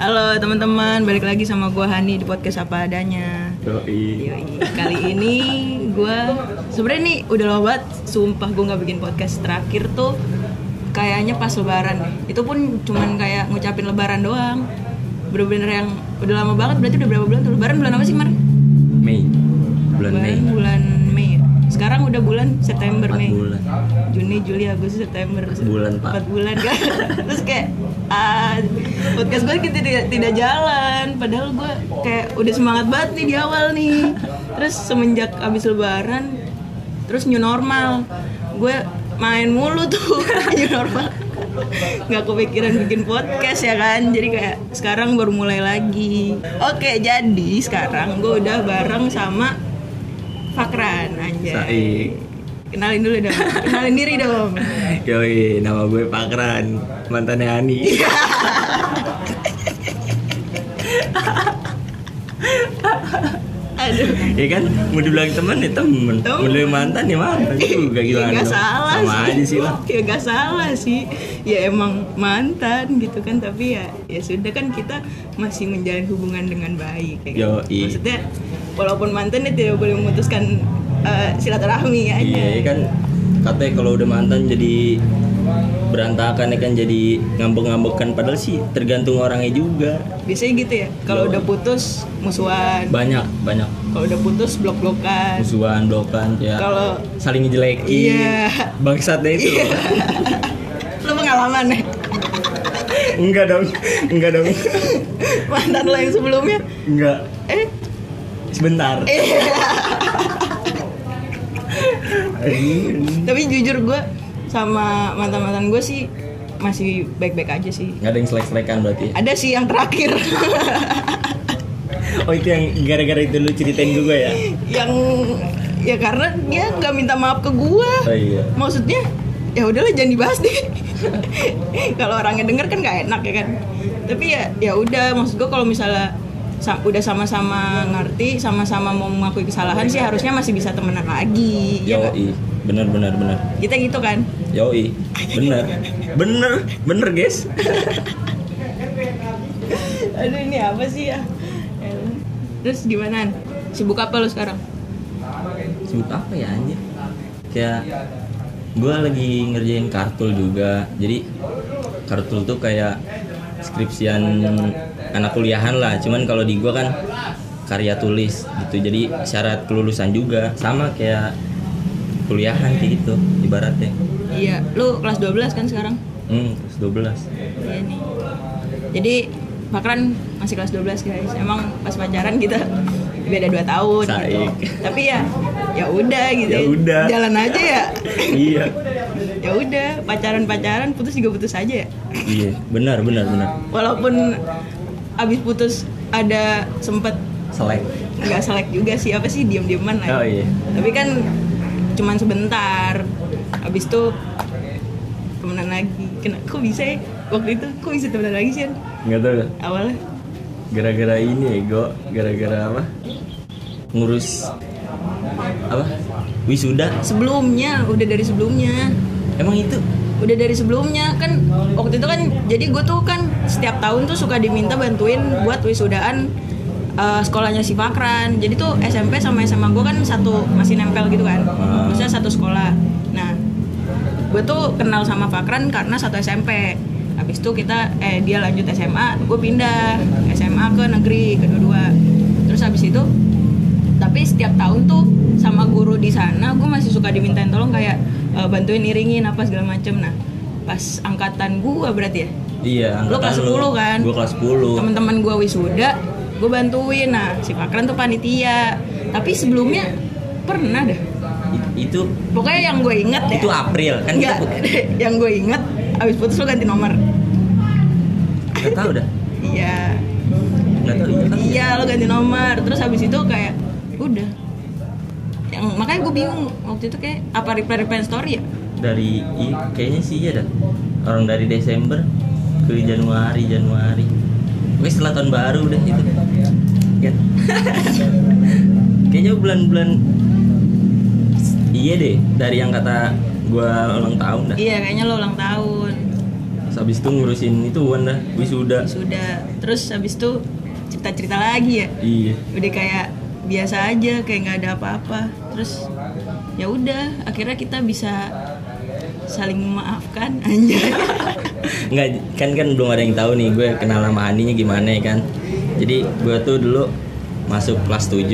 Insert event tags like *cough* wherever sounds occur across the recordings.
Halo teman-teman, balik lagi sama gua Hani di podcast apa adanya. Doi. Yoi. Kali ini gua sebenarnya nih udah lama banget, sumpah gua nggak bikin podcast terakhir tuh kayaknya pas lebaran. Itu pun cuman kayak ngucapin lebaran doang. Bener-bener yang udah lama banget, berarti udah berapa bulan tuh lebaran bulan apa sih kemarin? Mei. Bulan Mei. Lebaran bulan Mei. Sekarang udah bulan September Empat Mei. bulan. Juni, Juli, Agustus, September. Bulan, Pak. Empat bulan kan. *laughs* Terus kayak ah, podcast gue kita tidak tidak jalan. Padahal gue kayak udah semangat banget nih di awal nih. Terus semenjak abis Lebaran, terus new normal. Gue main mulu tuh *laughs* new normal. Nggak kepikiran bikin podcast ya kan Jadi kayak sekarang baru mulai lagi Oke jadi sekarang gue udah bareng sama Fakran anjay Saik. Kenalin dulu dong. Kenalin diri dong. Eh, Yoi, nama gue Pakran, mantannya *laughs* Ani. Aduh. ya kan, mau dibilang teman ya Temen. teman, mau dibilang mantan ya mantan juga gimana? Ya, nggak dong? salah Sama sih. aja sih lah. Ya nggak salah sih. Ya emang mantan gitu kan, tapi ya ya sudah kan kita masih menjalin hubungan dengan baik kayak gitu. Yoi. Maksudnya walaupun mantan ya tidak boleh memutuskan eh, silaturahmi ya. Iya, ya kan katanya kalau udah mantan jadi berantakan ya kan jadi ngambek-ngambekan padahal sih tergantung orangnya juga. Biasanya gitu ya. Kalau Yoi. udah putus musuhan. Banyak, banyak Kalau udah putus blok-blokan. musuhan, blokan ya. Kalau- saling ngejelekin. Iya. Bangsatnya itu. loh. Lu pengalaman ya. *laughs* enggak dong. Enggak dong. Mantan lo yang sebelumnya. Enggak. Eh, Sebentar. *laughs* Nggak tapi jujur gue sama mantan-mantan gue sih masih baik-baik aja sih ada yang selek-selekan berarti. ya? ada sih yang terakhir *laughs* Oh itu yang gara-gara itu lu ceritain ke gue ya? yang ya karena dia nggak minta maaf ke gue Oh iya. maksudnya ya udahlah jangan dibahas deh *laughs* kalau orangnya denger kan nggak enak ya kan tapi ya ya udah maksud gue kalau misalnya sa- udah sama-sama ngerti sama-sama mau mengakui kesalahan sih harusnya masih bisa temenan lagi ya nggak? Yoi, bener bener bener. kita gitu kan Yoi, bener, bener, bener guys. Aduh ini apa sih ya? Elah. Terus gimana? Sibuk apa lu sekarang? Sibuk apa ya anjir? Kayak gue lagi ngerjain kartul juga. Jadi kartul tuh kayak skripsian anak kuliahan lah. Cuman kalau di gue kan karya tulis gitu. Jadi syarat kelulusan juga sama kayak kuliahan kayak gitu ibaratnya. Iya, lu kelas 12 kan sekarang? Hmm, terus 12. Iya nih. Jadi Fakran masih kelas 12 guys. Emang pas pacaran kita beda 2 tahun gitu. Saik. Tapi ya ya udah gitu. Ya udah. Jalan aja ya. iya. ya udah, pacaran-pacaran putus juga putus aja ya. Iya, benar benar benar. Walaupun abis putus ada sempet Selek. nggak selek juga sih apa sih diam-diaman lah ya. Oh iya. tapi kan cuman sebentar habis itu temenan lagi kena kok bisa ya waktu itu kok bisa temenan lagi sih Yan? Enggak tahu awalnya gara-gara ini ego, gara-gara apa? Ngurus apa? Wisuda. sebelumnya udah dari sebelumnya Emang itu? udah dari sebelumnya kan waktu itu kan jadi gue tuh kan setiap tahun tuh suka diminta bantuin buat wisudaan eh, sekolahnya si Fakran jadi tuh SMP sama SMA gue kan satu masih nempel gitu kan Ah. maksudnya satu sekolah nah gue tuh kenal sama Fakran karena satu SMP habis itu kita eh dia lanjut SMA gue pindah SMA ke negeri kedua-dua terus habis itu tapi setiap tahun tuh sama guru di sana gue masih suka dimintain tolong kayak eh, bantuin iringin apa segala macem nah pas angkatan gue berarti ya Iya, Lu kelas angkatan 10 kan? Gua kelas 10. teman-teman gue wisuda gue bantuin nah si Fakran tuh panitia tapi sebelumnya pernah dah I- itu pokoknya yang gue inget ya itu April kan kita Enggak, *laughs* yang gue inget abis putus lu ganti nomor enggak tahu dah. iya Enggak tahu iya kan. iya lu ganti nomor terus habis itu kayak udah yang makanya gue bingung waktu itu kayak apa reply reply story ya Dari i- kayaknya sih iya dah. Orang dari Desember ke Januari, Januari. Oke, setelah tahun baru udah gitu. itu. *laughs* Kan. kayaknya bulan-bulan Iya deh, dari yang kata gua ulang tahun dah Iya, kayaknya lo ulang tahun. Terus habis itu ngurusin itu Wan dah wisuda Sudah. Terus habis itu cerita-cerita lagi ya. iya Udah kayak biasa aja, kayak nggak ada apa-apa. Terus ya udah, akhirnya kita bisa saling memaafkan *laughs* *laughs* anjay. Nggak, kan kan belum ada yang tahu nih gue kenal sama Aninya gimana ya kan. Jadi gue tuh dulu masuk kelas 7.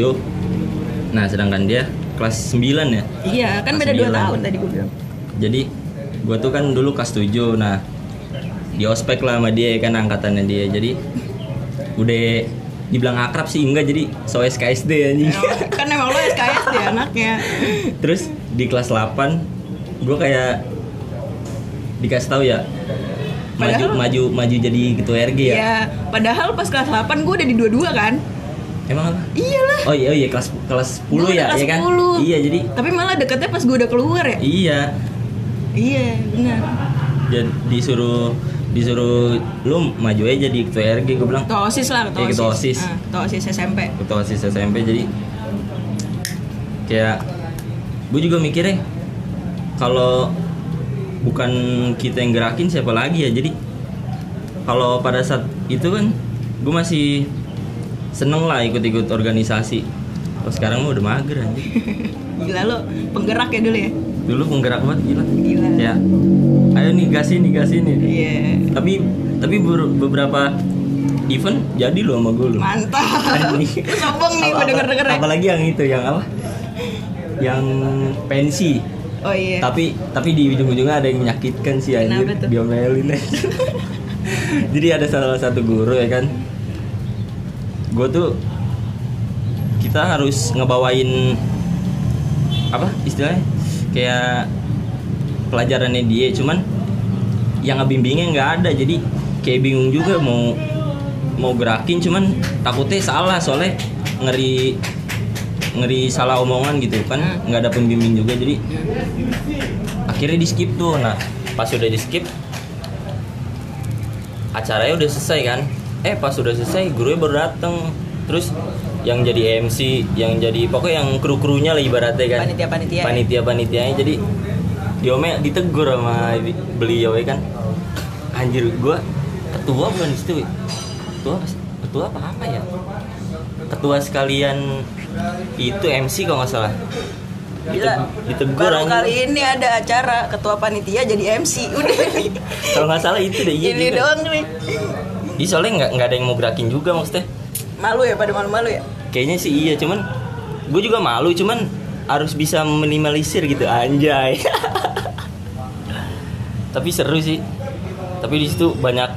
Nah, sedangkan dia kelas 9 ya. iya, kan beda 2 Sembilan. tahun tadi gue bilang. Jadi gue tuh kan dulu kelas 7. Nah, di ospek lah sama dia ya kan angkatannya dia. Jadi udah dibilang akrab sih enggak jadi so SKSD anjing. kan emang lo SKS dia anaknya. *laughs* Terus di kelas 8 gue kayak dikasih tahu ya maju Padahal- maju maju jadi ketua RG ya. Iya, padahal pas kelas 8 gue udah di dua-dua kan? Emang apa? Iyalah. Oh iya oh iya kelas kelas 10 Gua udah ya, kelas ya kan? 10. Iya jadi Tapi malah deketnya pas gue udah keluar ya? iya Iya, benar. jadi disuruh disuruh lu maju aja jadi ketua RG gue bilang Ketua OSIS lah, ketua Iya, ketua OSIS. Ah, ketua OSIS SMP. ketua OSIS SMP jadi kayak gue juga mikirnya kalau bukan kita yang gerakin siapa lagi ya jadi kalau pada saat itu kan gue masih seneng lah ikut-ikut organisasi kalau sekarang mah udah mager aja Gila lo, penggerak ya dulu ya? dulu penggerak banget gila Gila. ya ayo nih gas ini gas ini Iya. tapi tapi ber- beberapa event jadi lo sama gue lo Mantap. Anjing. Sombong nih gue Apa- denger-denger ya. apalagi yang itu yang apa yang pensi Oh iya. tapi tapi di ujung-ujungnya ada yang menyakitkan sih anjir Kenapa tuh? *laughs* diomelin aja. jadi ada salah satu guru ya kan gue tuh kita harus ngebawain apa istilahnya kayak pelajarannya dia cuman yang ngebimbingnya nggak ada jadi kayak bingung juga mau mau gerakin cuman takutnya salah soalnya ngeri ngeri salah omongan gitu kan Hmm. nggak ada pembimbing juga jadi akhirnya di skip tuh nah pas udah di skip acaranya udah selesai kan eh pas udah selesai gurunya baru dateng terus yang jadi MC yang jadi pokoknya yang kru krunya lah ibaratnya kan Panitia-panitia. panitia panitianya jadi diomel ditegur sama di- beliau ya kan anjir gua ketua bukan di situ ya? ketua apa sih? ketua apa apa ya ketua sekalian itu MC kalau nggak salah Gila. Diteg- ditegur Baru anjing. kali ini ada acara ketua panitia jadi MC. *laughs* Udah nih. kalau nggak salah itu deh iya ini juga. doang nih. Ih, soalnya nggak nggak ada yang mau gerakin juga maksudnya Malu ya pada malu-malu ya? kayaknya sih iya cuman gue juga malu cuman harus bisa minimalisir gitu anjay *laughs* tapi seru sih tapi di situ banyak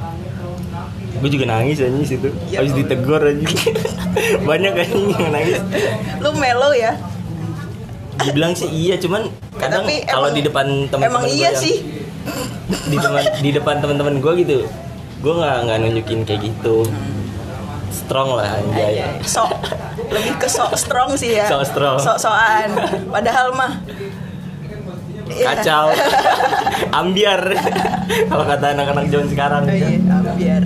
gue juga nangis aja di situ Ya habis ditegur aja *laughs* banyak anjing yang nangis Lu melo ya? dibilang sih iya cuman kadang Tapi kalau emang- di depan teman-teman Emang gua ya. iya yang- sih. di teman di depan teman-teman gue gitu gue nggak nggak nunjukin kayak gitu strong lah anjay Iya, Sok. Lebih ke sok strong sih ya. Sok strong. Sok-sokan. Padahal mah Iya. kacau *laughs* ambiar *laughs* kalau kata anak-anak zaman sekarang Oh iya, biar.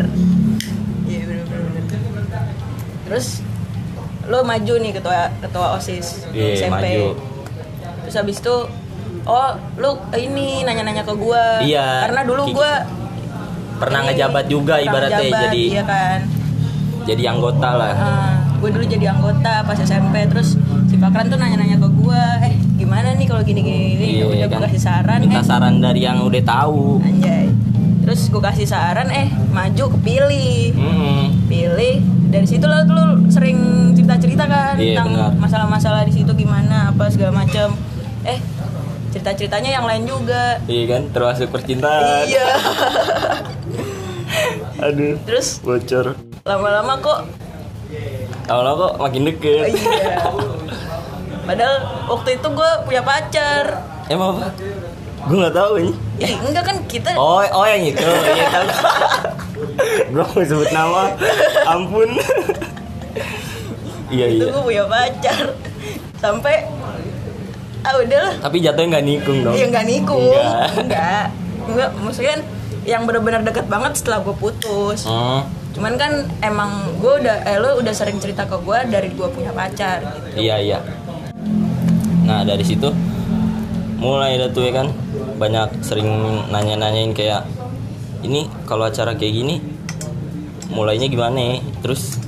Iya benar-benar. Terus lo maju nih ketua ketua OSIS Iya, maju. Terus habis itu oh lu ini nanya-nanya ke gua. Iya, Karena dulu kayak gua pernah ini, ngejabat juga pernah ibaratnya ngejabat, jadi iya kan. jadi anggota lah gue Ah, dulu jadi anggota pas SMP terus si Pakran tuh nanya-nanya ke gua, "Eh, gimana nih kalau gini-gini?" Iya, Udah gua kan? kasih saran, minta eh, saran dari yang udah tahu anjay. Terus gue kasih saran, "Eh, maju kepilih." Mm-mm. pilih dari situ lah lu sering cerita cerita kan Iya, tentang benar. masalah-masalah di situ gimana apa segala macem eh cerita ceritanya yang lain juga iya kan termasuk percintaan iya *laughs* aduh terus bocor lama-lama kok kalau kok makin oh, deket iya padahal waktu itu gue punya pacar emang apa gue nggak tahu ini Ih, enggak kan kita oh oh yang itu yang itu gue mau sebut nama ampun iya itu iya gue punya pacar sampai ah udahlah tapi jatuhnya nggak nikung dong Iya nggak nikung, Nggak. nggak, nggak. Maksudnya kan yang benar-benar deket banget setelah gue putus. Hmm, Cuman kan emang gue udah, eh lo udah sering cerita ke gue dari gue punya pacar. Gitu. iya iya. Nah dari situ mulai dah tuh ya kan banyak sering nanya-nanyain kayak ini kalau acara kayak gini mulainya gimana ya? terus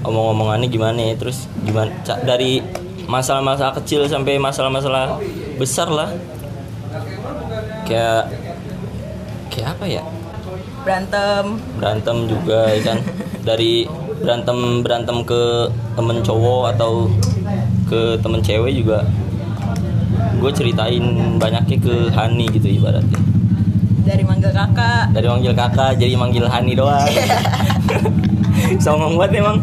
omong-omongannya gimana ya? terus gimana ca- dari masalah-masalah kecil sampai masalah-masalah besar lah kayak kayak apa ya berantem berantem juga ya kan dari berantem berantem ke temen cowok atau ke temen cewek juga gue ceritain banyaknya ke Hani gitu ibaratnya dari manggil kakak dari manggil kakak jadi manggil Hani doang *laughs* songong banget emang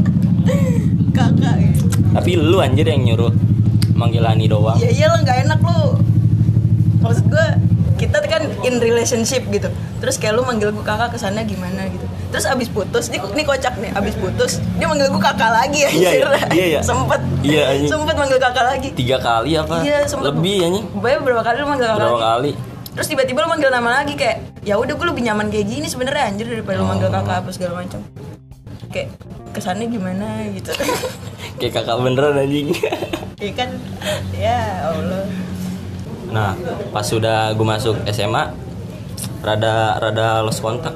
kakak gitu. tapi lu anjir yang nyuruh manggil Hani doang ya iyalah nggak enak lu maksud gue kita kan in relationship gitu terus kayak lu manggil gue kakak kesana gimana gitu terus abis putus ini, ini kocak nih abis putus dia manggil gue kakak lagi anjir iya, iya, iya. sempet Iya, anjing. sempet manggil kakak lagi tiga kali apa iya sempet lebih anjing Pokoknya berapa kali lu manggil kakak berapa lagi kali terus tiba-tiba lu manggil nama lagi kayak ya udah gue lebih nyaman kayak gini sebenarnya anjir daripada lu manggil kakak apa segala macam kayak kesannya gimana gitu *laughs* kayak kakak beneran anjing *laughs* ya kan ya allah Nah, pas sudah gue masuk SMA, rada rada los kontak.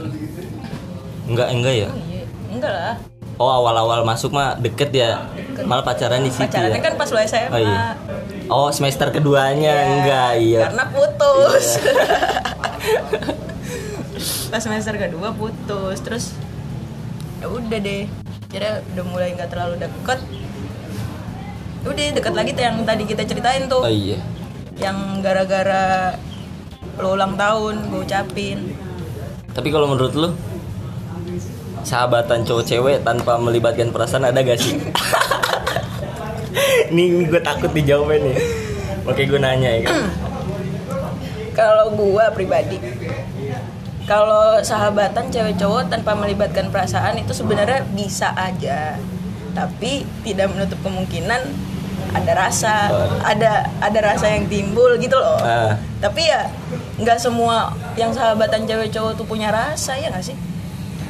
Enggak, enggak ya. Iya, enggak lah Oh, awal-awal masuk mah deket ya. Malah pacaran di situ. pacarannya ya? kan pas lu SMA Oh, iya. Oh, semester keduanya enggak, iya. karena putus *laughs* pas semester kedua putus terus ya udah deh kira udah mulai nggak terlalu deket udah deket lagi tuh yang tadi kita ceritain tuh Oh iya. yang gara-gara lo ulang tahun gue ucapin Tapi kalau menurut lu sahabatan cowok cewek tanpa melibatkan perasaan ada gak sih? *laughs* Nih gue takut dijawabin nih. Oke gue nanya ya kan. kalau gua pribadi kalau sahabatan cewek cowok tanpa melibatkan perasaan itu sebenarnya bisa aja tapi tidak menutup kemungkinan ada rasa ada ada rasa yang timbul gitu loh Ah. tapi ya nggak semua yang sahabatan cewek cowok tuh punya rasa ya nggak sih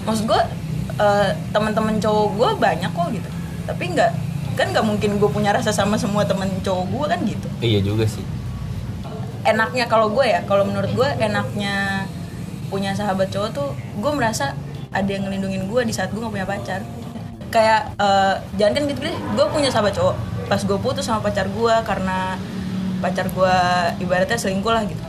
maksud gua eh, teman-teman cowok gua banyak kok gitu tapi nggak kan nggak mungkin gue punya rasa sama semua temen cowok gua kan gitu Iya juga sih. enaknya kalau gue ya kalau menurut gue enaknya punya sahabat cowok tuh gue merasa ada yang ngelindungin gue di saat gue gak punya pacar kayak eh, jangan kan gitu deh gue punya sahabat cowok pas gue putus sama pacar gue karena pacar gue ibaratnya selingkuh lah gitu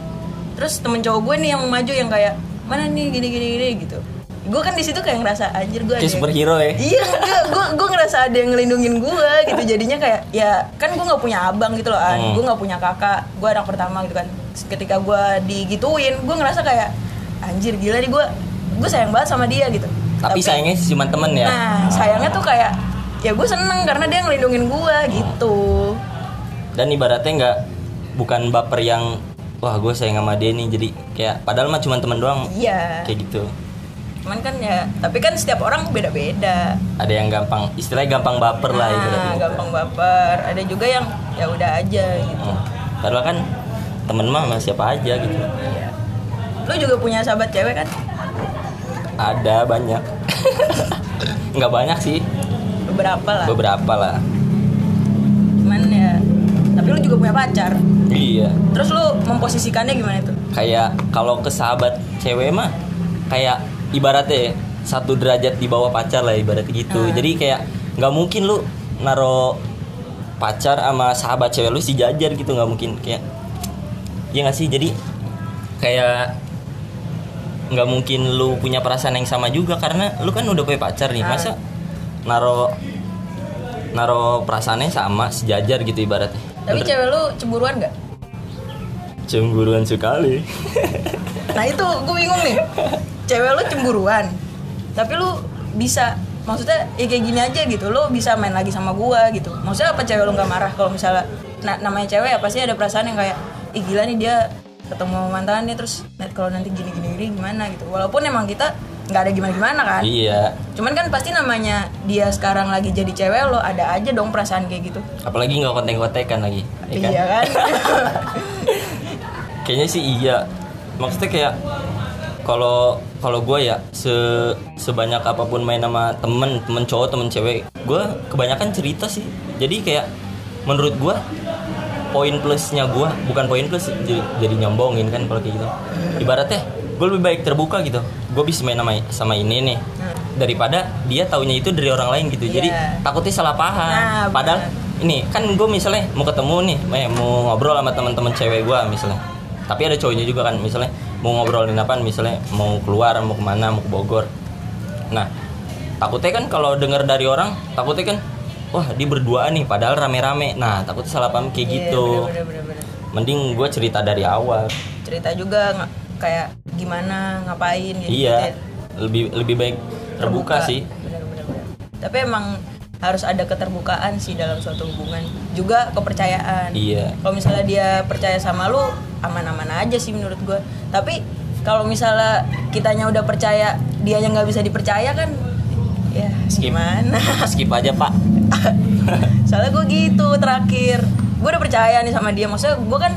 terus temen cowok gue nih yang maju yang kayak mana nih gini gini gini gitu gue kan di situ kayak ngerasa anjir gue Kayak superhero ya. iya gue gue ngerasa ada yang ngelindungin gue gitu jadinya kayak ya kan gue nggak punya abang gitu loh an Hmm. gue nggak punya kakak gue anak pertama gitu kan ketika gue digituin gue ngerasa kayak anjir gila nih gue gue sayang banget sama dia gitu Tapi, sayangnya sih cuma temen ya. nah sayangnya tuh kayak ya gue seneng karena dia ngelindungin gue gitu dan ibaratnya nggak bukan baper yang wah gue sayang sama dia nih jadi kayak padahal mah cuma teman doang iya kayak gitu cuman kan ya tapi kan setiap orang beda beda ada yang gampang istilahnya gampang baper lah ya, ibaratnya nah, gampang baper ada juga yang ya udah aja gitu Hmm. padahal kan temen mah sama siapa aja gitu Iya. Lu juga punya sahabat cewek kan? ada *laughs* banyak nggak banyak sih Beberapa lah. beberapa lah Cuman ya, tapi lu juga punya pacar. iya Terus lu memposisikannya gimana tuh? kayak kalau ke sahabat cewek mah kayak ibaratnya ya, satu derajat di bawah pacar lah ibaratnya gitu Ah. jadi kayak nggak mungkin lu naro pacar sama sahabat cewek lu sejajar gitu nggak mungkin kayak ya nggak sih jadi kayak nggak mungkin lu punya perasaan yang sama juga karena lu kan udah punya pacar nih Ah. masa naro naro perasaannya sama sejajar gitu ibaratnya Tapi Bener. cewek lu cemburuan gak? cemburuan sekali Nah itu gue bingung nih. Cewek lu cemburuan, tapi lu bisa maksudnya ya kayak gini aja gitu lu bisa main lagi sama gua gitu maksudnya apa cewek lu nggak marah kalau misalnya nah, namanya cewek ya pasti ada perasaan yang kayak ih gila nih dia ketemu sama mantannya terus nah, kalau nanti gini gini gini gimana gitu walaupun emang kita nggak ada gimana gimana kan iya Cuman kan pasti namanya dia sekarang lagi jadi cewek lo ada aja dong perasaan kayak gitu. apalagi nggak kontek-kontekan lagi ya kan? Iya kan? *laughs* kayaknya sih iya maksudnya kayak kalau kalau gue ya se sebanyak apapun main sama temen temen cowok temen cewek gue kebanyakan cerita sih jadi kayak menurut gue poin plusnya gua bukan poin plus jadi, jadi nyombongin kan kalau kayak gitu ibaratnya gue lebih baik terbuka gitu gue bisa main sama, sama ini nih daripada dia taunya itu dari orang lain gitu jadi Iya. takutnya salah paham Nah, padahal benar. ini kan gue misalnya mau ketemu nih eh, mau ngobrol sama teman-teman cewek gue misalnya tapi ada cowoknya juga kan misalnya mau ngobrolin apa misalnya mau keluar mau kemana mau ke Bogor nah takutnya kan kalau dengar dari orang takutnya kan wah di berdua nih padahal rame-rame nah takutnya salah paham kayak Iya, gitu bener, bener, bener, bener. mending gue cerita dari awal cerita juga nga- kayak gimana ngapain gitu iya lebih lebih baik terbuka, sih Bener, bener, bener. tapi emang harus ada keterbukaan sih dalam suatu hubungan juga kepercayaan iya *clears throat* kalau misalnya dia percaya sama lu aman-aman aja sih menurut gua tapi kalau misalnya kitanya udah percaya dia yang nggak bisa dipercaya kan ya Skip. gimana skip aja pak soalnya gue gitu terakhir gue udah percaya nih sama dia maksudnya gue kan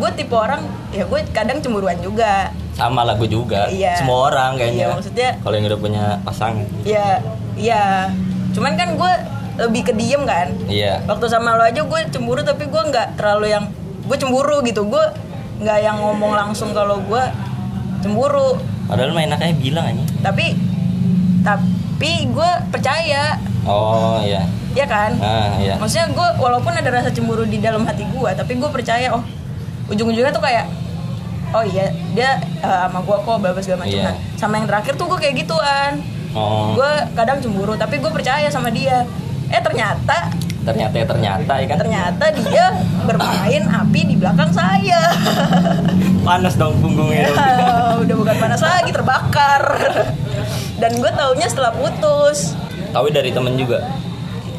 gue tipe orang ya gue kadang cemburuan juga sama lah gue juga Iya. semua orang kayaknya Iya, maksudnya kalau yang udah punya pasangan ya ya cuman kan gue lebih ke diem kan iya waktu sama lo aja gue cemburu tapi gue nggak terlalu yang gue cemburu gitu gue nggak yang ngomong langsung kalau gue cemburu padahal mah enaknya bilang aja tapi tapi gue percaya oh iya ya kan ah iya maksudnya gue walaupun ada rasa cemburu di dalam hati gue tapi gue percaya oh ujung-ujungnya tuh kayak oh iya dia eh, sama gue kok bebas segala macam Iya. Nah, sama yang terakhir tuh gue kayak gituan oh gue kadang cemburu tapi gue percaya sama dia eh ternyata ternyata ya ternyata ya kan ternyata dia bermain api di belakang saya *laughs* panas dong punggungnya Ya, udah bukan panas lagi terbakar *laughs* dan gue taunya setelah putus tahu dari temen juga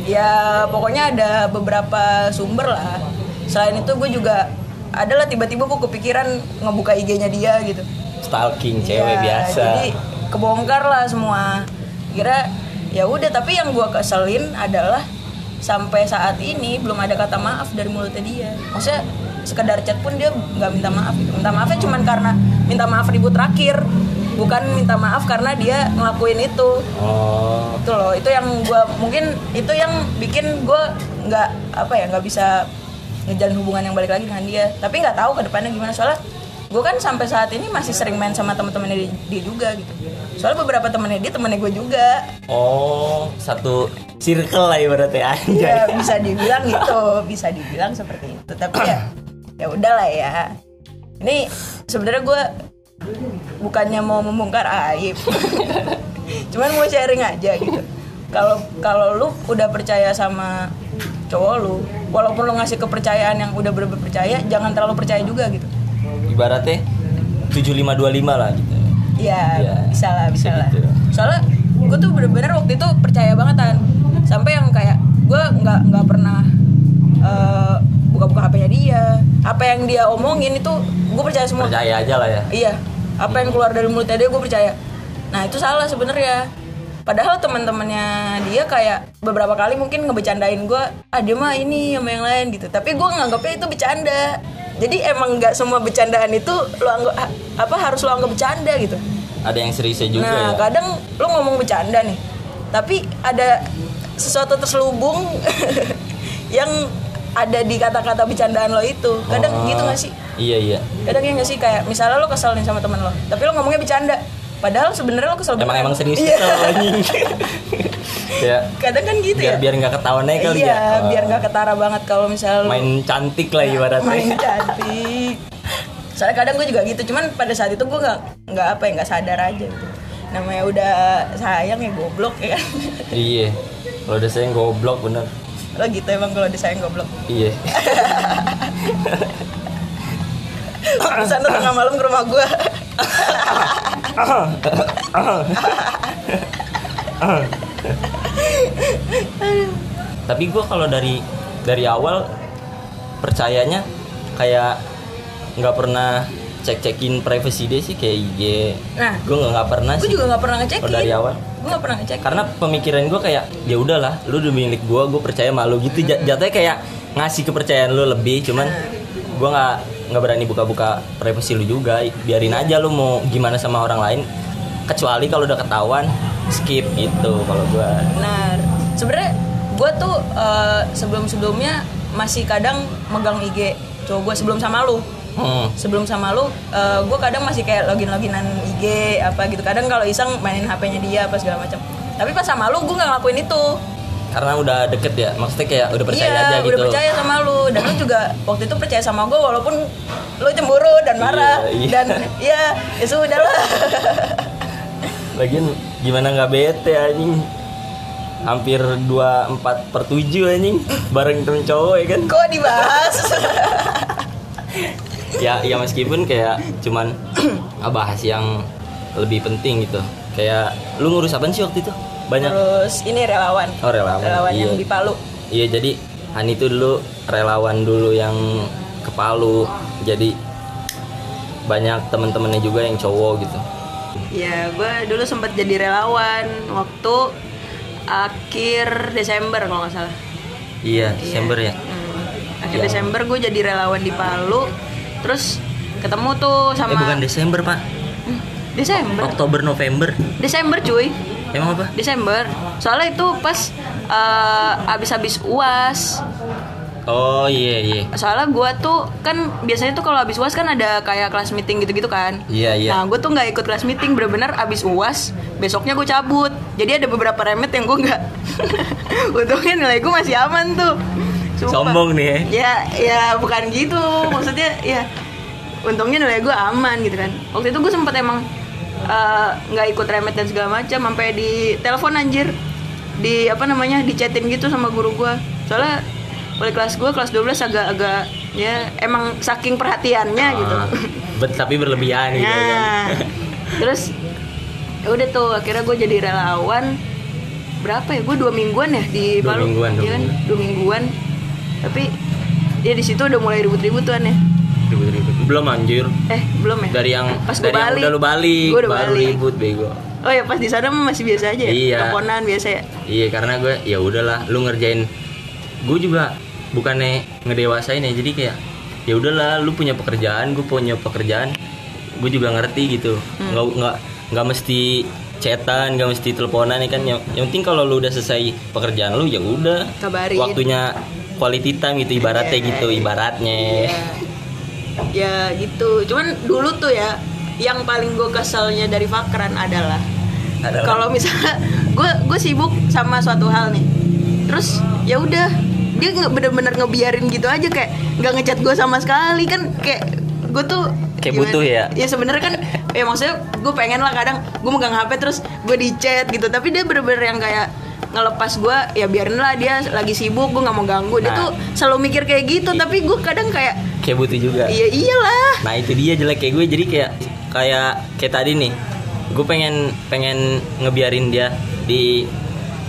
ya pokoknya ada beberapa sumber lah selain itu gue juga adalah tiba-tiba gue kepikiran ngebuka IG-nya dia gitu stalking Ya, cewek biasa jadi kebongkar lah semua kira ya udah tapi yang gue keselin adalah sampai saat ini belum ada kata maaf dari mulutnya dia maksudnya sekedar chat pun dia nggak minta maaf gitu. minta maafnya cuman karena minta maaf ribut terakhir bukan minta maaf karena dia ngelakuin itu oh itu Gitu loh itu yang gue mungkin itu yang bikin gue nggak apa ya nggak bisa ngejalan hubungan yang balik lagi dengan dia tapi nggak tahu ke depannya gimana soalnya gue kan sampai saat ini masih sering main sama teman-temannya di- dia juga gitu soalnya beberapa temennya dia temennya gue juga Oh, satu circle lah ibaratnya *laughs* anjay. ya bisa dibilang gitu bisa dibilang seperti itu tapi ya ya udahlah ya ini sebenarnya gue bukannya mau membongkar aib *laughs* cuman mau sharing aja gitu kalau kalau lu udah percaya sama cowok lu walaupun lu ngasih kepercayaan yang udah bener percaya jangan terlalu percaya juga gitu Ibaratnya 7525 lah gitu. Iya, Iya, bisa lah, bisa, bisa lah. gitu. Soalnya gue tuh bener-bener waktu itu percaya banget kan, sampai yang kayak gue nggak nggak pernah eh, buka-buka HP-nya dia. Apa yang dia omongin itu gue percaya semua. Percaya aja lah ya. Iya, apa yang keluar dari mulutnya dia gue percaya. Nah itu salah sebenarnya. Padahal teman-temannya dia kayak beberapa kali mungkin ngebecandain gue, ah dia mah ini sama yang lain gitu. Tapi gue nganggapnya itu bercanda. Jadi emang nggak semua bercandaan itu lo anggap apa harus lo anggap bercanda gitu. Ada yang seriusnya juga nah ya. kadang lo ngomong bercanda nih, tapi ada sesuatu terselubung *laughs* yang ada di kata-kata bercandaan lo itu. Kadang Oh, gitu gak sih? Iya, iya. kadang ya nggak sih kayak misalnya lo kesel nih sama teman lo tapi lo ngomongnya bercanda padahal sebenarnya lo kesel Emang beneran. emang serius Iya. kesel, anjing. ya. kadang kan gitu ya Biar biar nggak ketahuan aja kali iya ya. biar nggak ketara banget kalau misalnya lo main cantik lah ibaratnya. main cantik soalnya kadang gue juga gitu cuman pada saat itu gue nggak nggak apa ya nggak sadar aja gitu namanya udah sayang ya goblok ya *laughs* kan iya. Kalau udah sayang goblok bener. lo gitu emang kalau disayang *coughs* goblok Iya. bisa lo tengah malam ke rumah gue Tapi gua kalau dari dari awal percayanya kayak nggak pernah cek-cekin privasi dia sih kayak IG. nah Gue nggak pernah gue sih. juga nggak pernah ngecekin Kalau Oh, dari awal gue nggak pernah ngecekin karena pemikiran gue kayak ya udahlah lu udah milik gue gue percaya sama lu gitu Jat- jatuhnya kayak ngasih kepercayaan lu lebih cuman gue nggak nggak berani buka-buka privasi lu juga biarin aja lu mau gimana sama orang lain kecuali kalau udah ketahuan skip gitu kalau gue Benar. Sebenarnya gue tuh sebelum sebelumnya eh, masih kadang megang IG cowok gue sebelum sama lu oh sebelum sama lu gue kadang masih kayak login loginan IG apa gitu kadang kalau iseng mainin HP-nya dia apa segala macam tapi pas sama lu gue nggak ngelakuin itu karena udah deket ya maksudnya kayak udah percaya iya, aja gitu udah percaya sama lu dan lu juga waktu itu percaya sama gue walaupun lu cemburu dan marah Iya, iya. dan ya ya sudah lah lagian gimana nggak bete anjing hampir 24 per 7 anjing bareng temen cowok ya kan kok dibahas ya ya meskipun kayak cuman *clears throat* ah, bahas yang lebih penting gitu kayak lu ngurus apa sih waktu itu banyak terus ini relawan Oh, relawan. yang Iya. di Palu iya jadi Han itu dulu relawan dulu yang ke Palu jadi banyak temen-temennya juga yang cowok gitu ya gue dulu sempat jadi relawan waktu akhir Desember kalau nggak salah iya Desember ya Hmm. akhir Yang- Desember gue jadi relawan di Palu terus ketemu tuh sama eh bukan Oh. Desember pak Hmm, Desember Oktober November Desember cuy emang apa Desember soalnya itu pas eh, abis-abis uas oh iya iya soalnya gue tuh kan biasanya tuh kalau abis uas kan ada kayak kelas meeting gitu-gitu kan iya iya Nah, gue tuh nggak ikut kelas meeting, bener-bener abis uas, besoknya gue cabut. Jadi ada beberapa remet yang gue nggak. *laughs* Untungnya nilai gue masih aman tuh. Sumpah. sombong nih ya Ya, ya bukan gitu. Maksudnya ya, untungnya nilai gue aman gitu kan. Waktu itu gue sempet emang eh, nggak ikut remet dan segala macam, sampai di telepon anjir, di apa namanya, di chatin gitu sama guru gue. Soalnya oleh kelas gue kelas 12 agak-agak ya emang saking perhatiannya gitu. Ah, bet- tapi berlebihan gitu kan Nah, terus ya udah tuh akhirnya gue jadi relawan berapa ya gue dua mingguan ya di Dua Palu mingguan, dua Iya kan? mingguan. dua mingguan tapi ya di situ udah mulai ribut-ribut tuan ya Ribut-ribut. belum anjir eh belum ya dari yang pas gue dari yang balik udah lu balik Gua udah baru balik. ribut bego oh ya pas di sana mah masih biasa aja ya? Iya. teleponan biasa ya iya karena gue ya udahlah lu ngerjain gue juga bukannya ngedewasain ya jadi kayak ya udahlah lu punya pekerjaan gue punya pekerjaan gue juga ngerti gitu Hmm. nggak nggak nggak mesti chatan nggak mesti teleponan ya kan yang, yang penting kalau lu udah selesai pekerjaan lu ya udah Kabarin. Iya. waktunya quality time gitu ibaratnya gitu ibaratnya ya gitu cuman dulu tuh ya yang paling gue keselnya dari Fakran adalah Adalah. kalau misalnya gue gue sibuk sama suatu hal nih terus ya udah dia nggak bener-bener ngebiarin gitu aja kayak nggak ngechat gue sama sekali kan kayak gue tuh Kayak gimana? butuh ya? ya sebenarnya kan ya maksudnya gue pengen lah kadang gue megang hp terus gue di chat gitu tapi dia bener-bener yang kayak ngelepas gue ya biarin lah dia lagi sibuk gue nggak mau ganggu dia Nah. tuh selalu mikir kayak gitu tapi gue kadang kayak kayak butuh juga Iya iyalah. Nah itu dia jelek kayak gue jadi kayak kayak kayak tadi nih gue pengen pengen ngebiarin dia di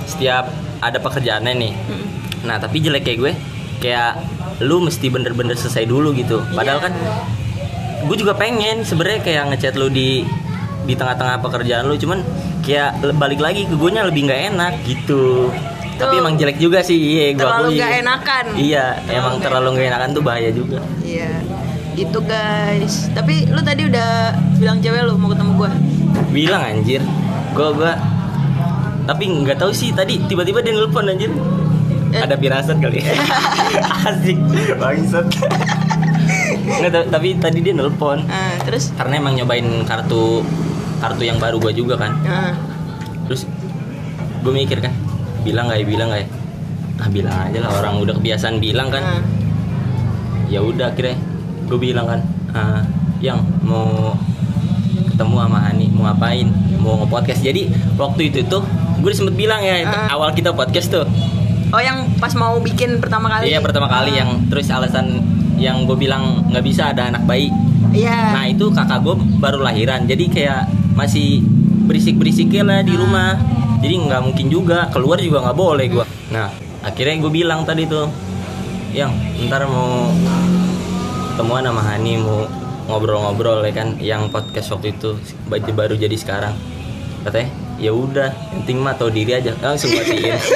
setiap ada pekerjaannya nih. Nah tapi jelek kayak gue kayak lu mesti bener-bener selesai dulu gitu. Padahal kan gue juga pengen sebenarnya kayak ngechat lu di di tengah-tengah pekerjaan lu cuman kayak le- balik lagi ke gue lebih nggak enak gitu. Tapi Tuh. emang jelek juga sih, iya gue Terlalu akui. nggak enakan. Iya, emang terlalu nggak enakan tuh bahaya juga. Iya. Gitu guys. Tapi lu tadi udah bilang cewek lu mau ketemu gua. bilang anjir gua gua tapi nggak tahu sih tadi tiba-tiba dia nelpon anjir Eh. ada pirasat *laughs* kali asik bangsat nggak ta- tapi tadi dia nelpon Ah, terus karena emang nyobain kartu kartu yang baru gua juga kan ah, terus gue mikir kan bilang nggak ya bilang nggak ya ah bilang aja lah orang udah kebiasaan bilang kan ah. ya udah akhirnya gue bilang kan "Ah, yang mau ketemu sama Hani mau ngapain mau nge-podcast jadi waktu itu tuh gue sempet bilang ya itu Ah. awal kita podcast tuh Oh yang pas mau bikin pertama kali. Ah. iya pertama kali yang terus alasan yang gue bilang nggak bisa ada anak bayi Iya. nah itu kakak gue baru lahiran jadi kayak masih berisik berisiknya lah di rumah jadi nggak mungkin juga keluar juga nggak boleh gue nah akhirnya gue bilang tadi tuh yang ntar mau temuan sama Hani mau ngobrol-ngobrol ya kan yang podcast waktu itu baju baru jadi sekarang katanya ya udah yang penting mah tahu diri aja langsung matiin Iya. *laughs*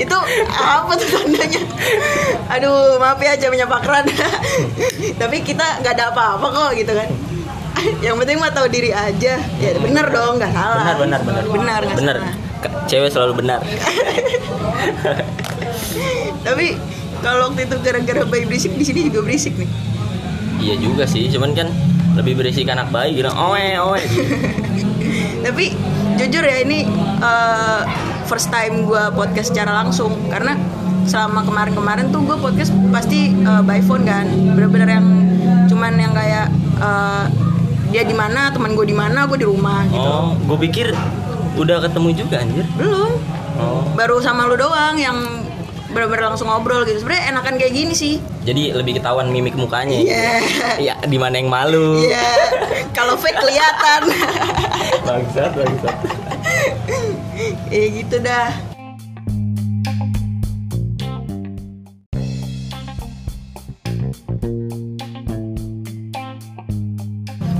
itu apa tuh tandanya? Aduh, maaf ya jamnya pakran. *laughs* Tapi kita nggak ada apa-apa kok gitu kan. *laughs* Yang penting mah tahu diri aja. Ya bener dong, nggak salah. benar benar benar Benar, nggak benar salah. Ke- cewek selalu benar Tapi kalau waktu itu gara-gara bayi berisik di sini juga berisik nih. Iya juga sih, cuman kan lebih berisik anak bayi gitu. Oe, oe. Tapi jujur ya ini eh, first time gua podcast secara langsung karena selama kemarin-kemarin tuh gue podcast pasti eh, by phone kan bener-bener yang cuman yang kayak eh, dia di mana teman gue di mana gue di rumah gitu Oh, gue pikir udah ketemu juga anjir. belum Oh. baru sama lu doang yang bener-bener langsung ngobrol gitu sebenarnya enakan kayak gini sih Jadi lebih ketahuan mimik mukanya. Iya. Iya, di mana yang malu. Iya, *laughs* kalau fake kelihatan. Bangsat, bangsat. ya gitu dah.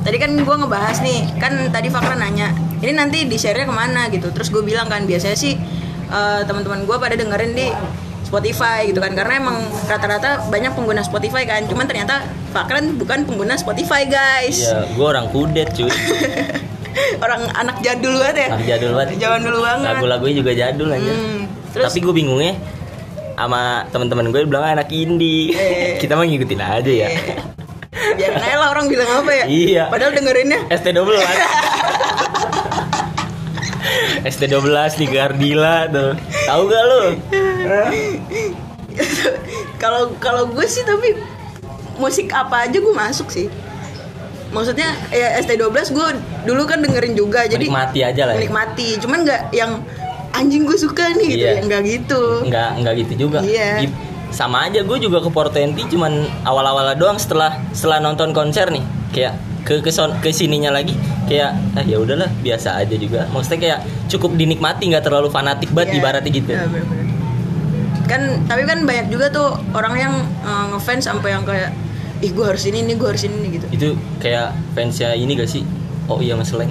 Tadi kan gue ngebahas nih, kan tadi Fakra nanya, ini nanti di share-nya kemana gitu. Terus gue bilang kan, biasanya sih eh, teman-teman gue pada dengerin di Spotify gitu kan karena emang rata-rata banyak pengguna Spotify kan cuman ternyata Fakran bukan pengguna Spotify guys Iya, gue orang kudet cuy. *laughs* orang anak jadul banget ya Anak jadul *laughs* banget. Zaman dulu banget Lagu-lagunya juga jadul anjir. Hmm, terus- Tapi gue bingungnya sama teman-teman gue bilang anak indie. Eh. *laughs* Kita mah ngikutin aja ya. biarin aja lah orang bilang apa ya Iya. padahal dengerinnya ST12. *laughs* ST12 di Gardila tuh. Tahu gak lu? kalau kalau gue sih tapi musik apa aja gue masuk sih maksudnya ya ST12 gue dulu kan dengerin juga jadi Menikmati aja lah. Ya. menikmati cuman nggak yang anjing gue suka nih gitu Iya. ya nggak gitu Nggak nggak gitu juga. Iya. Di- sama aja gue juga ke Portenti cuman awal-awal doang setelah setelah nonton konser nih kayak ke ke son- ke sininya lagi kayak ah ya udahlah biasa aja juga maksudnya kayak cukup dinikmati nggak terlalu fanatik banget Iya. ibaratnya gitu Iya, bener-bener. kan tapi kan banyak juga tuh orang yang eh, ngefans sampai yang kayak ih gue harus ini nih gue harus ini nih," gitu itu kayak fansnya ini gak sih oh iya mas Leng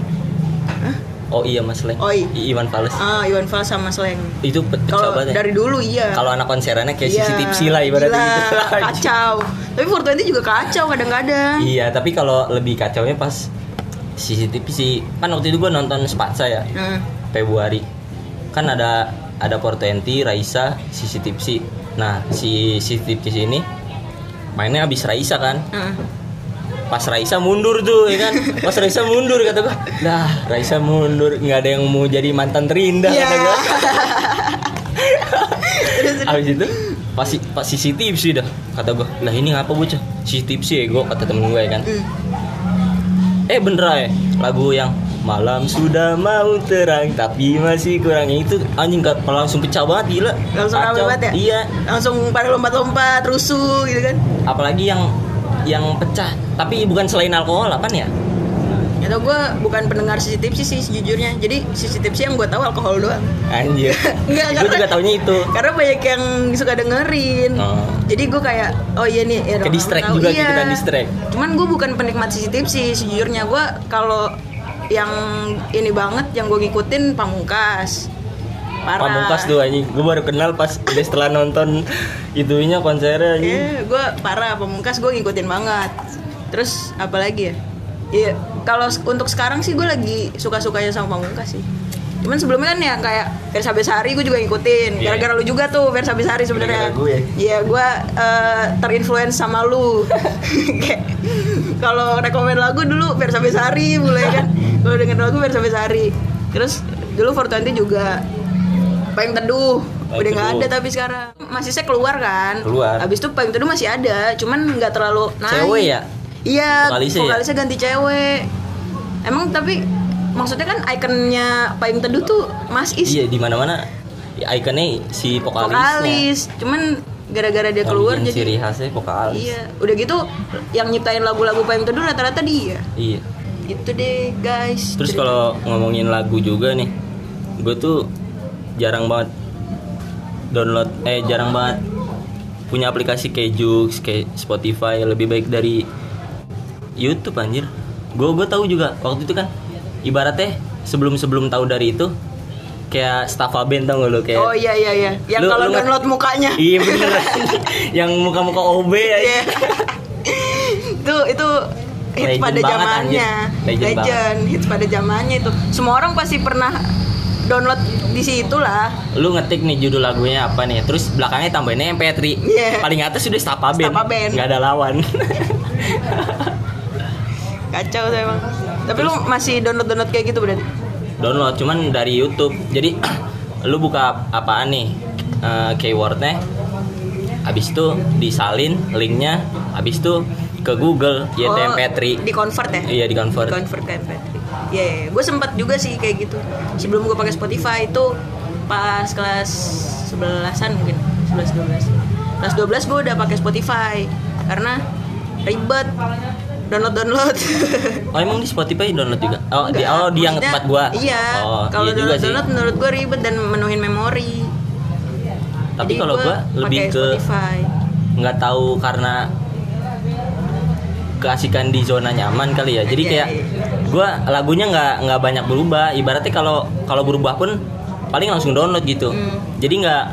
oh iya mas Leng Oi. I- Iwan Fals ah Iwan Fals sama Sleng itu pe- pecah kalau banget ya. dari dulu iya kalau anak konserannya kayak Iya, CCTV lah ibaratnya gila, gitu *laughs* kacau tapi 420 juga kacau kadang-kadang iya tapi kalau lebih kacaunya pas CCTV sih kan waktu itu gue nonton Spatsa ya nah, Februari kan ada ada Portenti, Raisa, Sisi Tipsi. Nah, si Sisi Tipsi ini mainnya abis Raisa kan. nah. Pas Raisa mundur tuh ya kan. Pas Raisa mundur kata gua. Lah, Raisa mundur nggak ada yang mau jadi mantan terindah Iya. kata gua. *laughs* terus terus. Abis itu pas si- pas Sisi Tipsi dah kata gua. Lah ini ngapa bocah? Sisi Tipsi ya gua kata temen gue ya kan. Hmm. Eh bener ya lagu yang malam sudah mau terang tapi masih kurang itu anjing gak langsung pecah banget gila langsung rame Kacau. banget ya iya langsung pada lompat-lompat rusuh gitu kan apalagi yang yang pecah tapi bukan selain alkohol apa ya atau gue bukan pendengar CCTV sih sejujurnya jadi CCTV sih yang gue tahu alkohol doang *laughs* anjir Enggak, gue karena- juga taunya itu *laughs* karena banyak yang suka dengerin Oh. jadi gue kayak oh iya nih ya, orang-orang Ke distract tahu. juga, kita distract. cuman gue bukan penikmat CCTV sih sejujurnya gue kalau yang ini banget yang gue ngikutin pamungkas parah pamungkas tuh anjing gue baru kenal pas udah setelah nonton itunya konsernya gue anjing Iya, parah pamungkas gue ngikutin banget terus apalagi ya Iya, kalau s- untuk sekarang sih gue lagi suka-sukanya sama pamungkas sih cuman sebelumnya kan ya kayak Versa Besari gue juga ngikutin Iya. gara-gara lu juga tuh Versa Besari sebenarnya Gara-gara ya. gue. iya gue eh, terinfluence sama lu *laughs* Kayak, kalau rekomen lagu dulu Versa Besari mulai *laughs* kan kalau denger lagu Versa Besari terus dulu Fortuanti juga Payung Teduh Payung udah nggak Teduh. ada tapi sekarang masih saya keluar kan Keluar. habis itu payung teduh masih ada cuman nggak terlalu naik cewek ya iya Vokalisnya vokalisnya, ya? ganti cewek emang tapi maksudnya kan ikonnya payung teduh tuh mas is iya di mana mana ikonnya si vokalisnya vokalis cuman gara-gara dia Yang keluar bikin jadi ciri khasnya vokalis iya udah gitu yang nyiptain lagu-lagu payung teduh rata-rata dia iya. itu deh guys Terus Cerita. kalau ngomongin lagu juga nih, gue tuh jarang banget download, eh jarang banget punya aplikasi kayak Joox, kayak Spotify, lebih baik dari YouTube anjir. Gue gue tahu juga waktu itu kan, ibaratnya sebelum sebelum tahu dari itu, kayak Staffa Band tau gak lo kayak oh iya iya iya yang Lu- kalau lu nggak- download mukanya Iya bener *laughs* Yang muka-muka OB ya Iya. itu itu hits Legend pada banget, zamannya anjir. Legend legend, hits pada zamannya itu semua orang pasti pernah download di situ lah lu ngetik nih judul lagunya apa nih terus belakangnya tambahinnya MP3 Iya. paling atas udah Stapaben Stapaben. nggak ada lawan *laughs* kacau tuh emang tapi lu masih download download kayak gitu berarti download cuman dari YouTube jadi *clears throat* lu buka apaan nih eh, keywordnya habis itu disalin linknya habis itu ke Google ya Oh, MP3 di convert ya iya di Di convert convert ke MP3 Iya, gue sempat juga sih kayak gitu sebelum gue pakai Spotify itu pas kelas 11-an mungkin 11 12 kelas 12 gue udah pakai Spotify karena ribet download download *laughs* oh emang di Spotify download juga oh di oh di yang tempat gua iya oh, kalau iya juga download sih download menurut gue ribet dan menuhin memori tapi Jadi kalau gua pakai lebih ke Spotify. nggak tahu karena keasikan di zona nyaman kali ya jadi Iya, kayak iya. gua lagunya nggak nggak banyak berubah ibaratnya kalau kalau berubah pun paling langsung download gitu Hmm. jadi nggak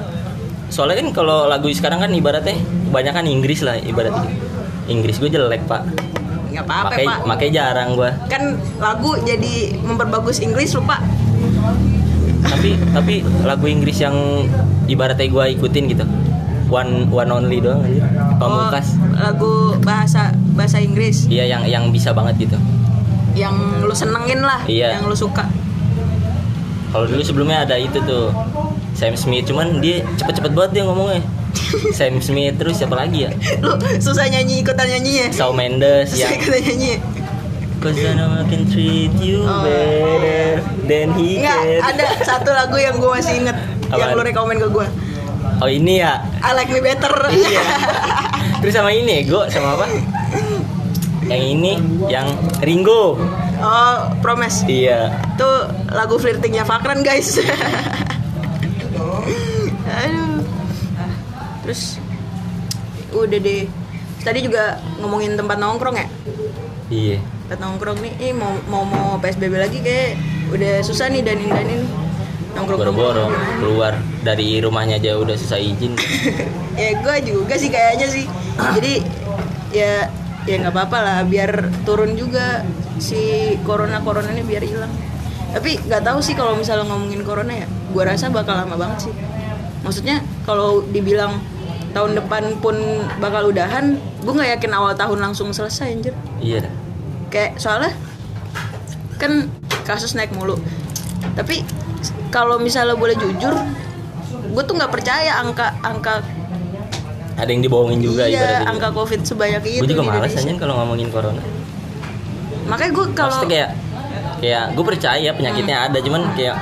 soalnya kan kalau lagu sekarang kan ibaratnya kebanyakan Inggris lah ibaratnya Inggris gue jelek pak nggak apa-apa makai pak makai jarang gua kan lagu jadi memperbagus Inggris lupa tapi tapi lagu Inggris yang ibaratnya gua ikutin gitu one one only doang aja pamungkas Oh, lagu bahasa bahasa Inggris iya yang yang bisa banget gitu yang lu senengin lah Iya. yang lu suka *laughs* Kalau dulu sebelumnya ada itu tuh Sam Smith, cuman dia cepet-cepet banget dia ngomongnya. Sam Smith terus siapa lagi ya? lu susah nyanyi ikutan nyanyinya Shawn *laughs* Mendes susah yang ikutan nyanyi ya? Cause I know I can treat you Oh. better than he nggak can. ada satu lagu yang gue masih inget yang Apaan? lu rekomen ke gue Oh ini ya. I like me better Iya. terus sama ini ego sama apa? Yang ini yang Ringo. *laughs* oh promise Iya. itu lagu flirtingnya Fakran guys *laughs* aduh terus udah deh tadi juga ngomongin tempat nongkrong ya Iya. tempat nongkrong nih ih, mau mau mau psbb lagi kayak udah susah nih danin danin nongkrong Boro-boro keluar dari rumahnya aja udah susah izin. ya gue juga sih kayaknya sih jadi ya ya nggak apa-apa lah biar turun juga si corona corona ini biar hilang tapi nggak tahu sih kalau misalnya ngomongin corona ya gue rasa bakal lama banget sih maksudnya kalau dibilang tahun depan pun bakal udahan gue nggak yakin awal tahun langsung selesai anjir Iya. dah. kayak soalnya kan kasus naik mulu tapi kalau misalnya boleh jujur gue tuh nggak percaya angka angka Ada yang dibohongin juga iya, ibaratnya. angka covid sebanyak itu gitu. Gue juga di malas Indonesia. anjing kalau ngomongin corona. makanya gue kalau Hmm. Maksudnya kayak kayak gue percaya penyakitnya ada cuman kayak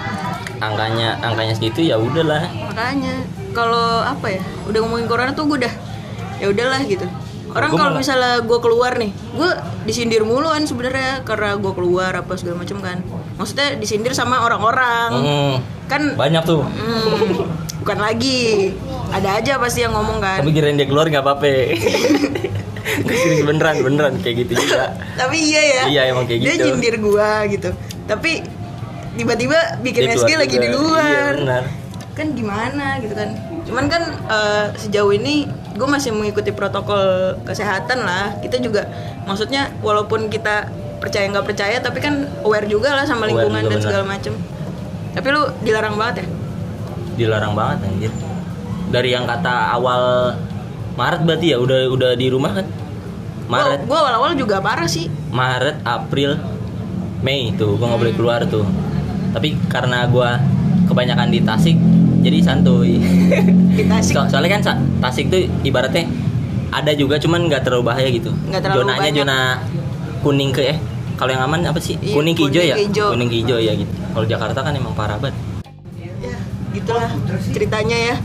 angkanya angkanya segitu ya udahlah makanya kalau apa ya udah ngomongin corona tuh gue udah ya udahlah gitu orang Gua kalau malah- misalnya gue keluar nih gue disindir mulu kan sebenarnya karena gue keluar apa segala macam kan maksudnya disindir sama orang-orang Hmm, kan banyak tuh Hmm, bukan lagi. Ada aja pasti yang ngomong kan. Tapi, tapi kirain dia keluar nggak apa-apa *laughs* Nggak, serius beneran beneran kayak gitu juga iya ya. Iya, emang kayak Dia gitu. nyindir gua gitu. Tapi tiba-tiba bikin Dia keluar SG lagi juga. di luar. iya benar Kan gimana gitu kan. Cuman kan eh, sejauh ini gue masih mengikuti protokol kesehatan lah. Kita juga maksudnya walaupun kita percaya nggak percaya tapi kan aware juga lah sama Aware lingkungan juga dan benar. segala macem. Tapi lu dilarang banget ya? dilarang banget anjir dari yang kata awal Maret berarti ya udah udah di rumah kan Maret Gue awal-awal juga parah sih. Maret, April, Mei tuh gua nggak boleh Hmm. keluar tuh. Tapi karena gua kebanyakan di Tasik, jadi santuy. Di Tasik. So- soalnya kan sa- Tasik tuh ibaratnya ada juga cuman nggak terlalu bahaya gitu. Nggak terlalu Zonanya banyak. zona kuning ke eh kalau yang aman apa sih? Iya, kuning ke kuning hijau ya? ke hijau. Kuning ke hijau ya gitu. Kalau Jakarta kan emang parah banget. ya gitulah ceritanya ya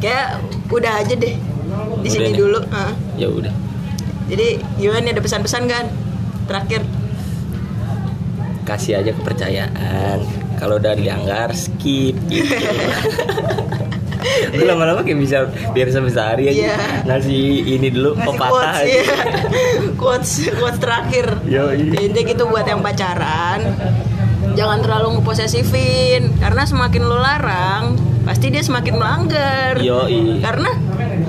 kayak udah aja deh di Udah sini nih. dulu Heeh. Ya udah. jadi gimana nih, ada pesan-pesan kan terakhir Kasih aja kepercayaan. Kalau udah dilanggar skip *laughs* gitu. Gue lama-lama kayak bisa biar sampai sehari aja Iya. ngasih ini dulu Ngasih quotes, pepatah Oh, aja. ya. *laughs* quotes quotes terakhir Yoi. jadi gitu buat yang pacaran jangan terlalu ngeposesifin karena semakin lu larang pasti dia semakin melanggar Iya. Yoi. karena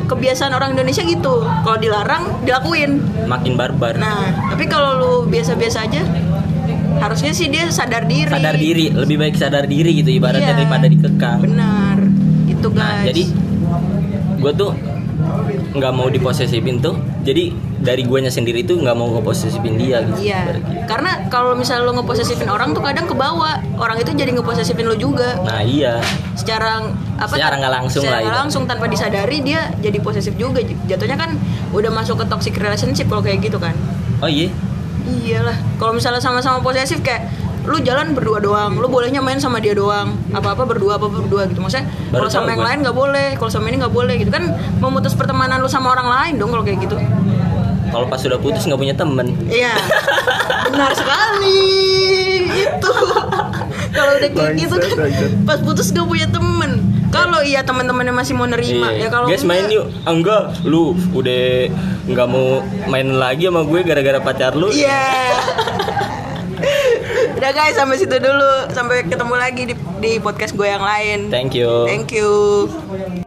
kebiasaan orang Indonesia gitu kalau dilarang dilakuin Makin barbar. Nah, tapi kalau lu biasa-biasa aja harusnya sih dia sadar diri sadar diri lebih baik sadar diri gitu ibaratnya Iya. daripada dikekang benar itu guys Nah, jadi gue tuh nggak mau diposesifin tuh. Jadi dari guanya sendiri tuh nggak mau ngeposesifin dia gitu. Iya, karena kalau misalnya lo ngeposesifin orang tuh kadang kebawa orang itu jadi ngeposesifin lo juga Nah iya, secara apa? Secara nggak langsung secara lah itu. nggak langsung tanpa disadari dia jadi posesif juga jatuhnya kan udah masuk ke toxic relationship kalau kayak gitu kan oh iya, iyalah kalau misalnya sama-sama posesif kayak lu jalan berdua doang lu bolehnya main sama dia doang apa apa berdua apa berdua gitu maksudnya Baru kalau sama tahu yang gue. lain nggak boleh kalau sama ini nggak boleh gitu kan memutus pertemanan lu sama orang lain dong kalau kayak gitu kalau pas sudah putus nggak punya temen. Iya. Benar sekali. Itu. Kalau udah kayak gitu kan pas putus gak punya temen Kalau iya teman-temannya masih mau nerima ya Iya. kalau guys main enggak- yuk, Ah, enggak, lu udah nggak mau main lagi sama gue gara-gara pacar lu. Iya. Udah guys sampai situ dulu. Sampai ketemu lagi di di podcast gue yang lain. Thank you. Thank you.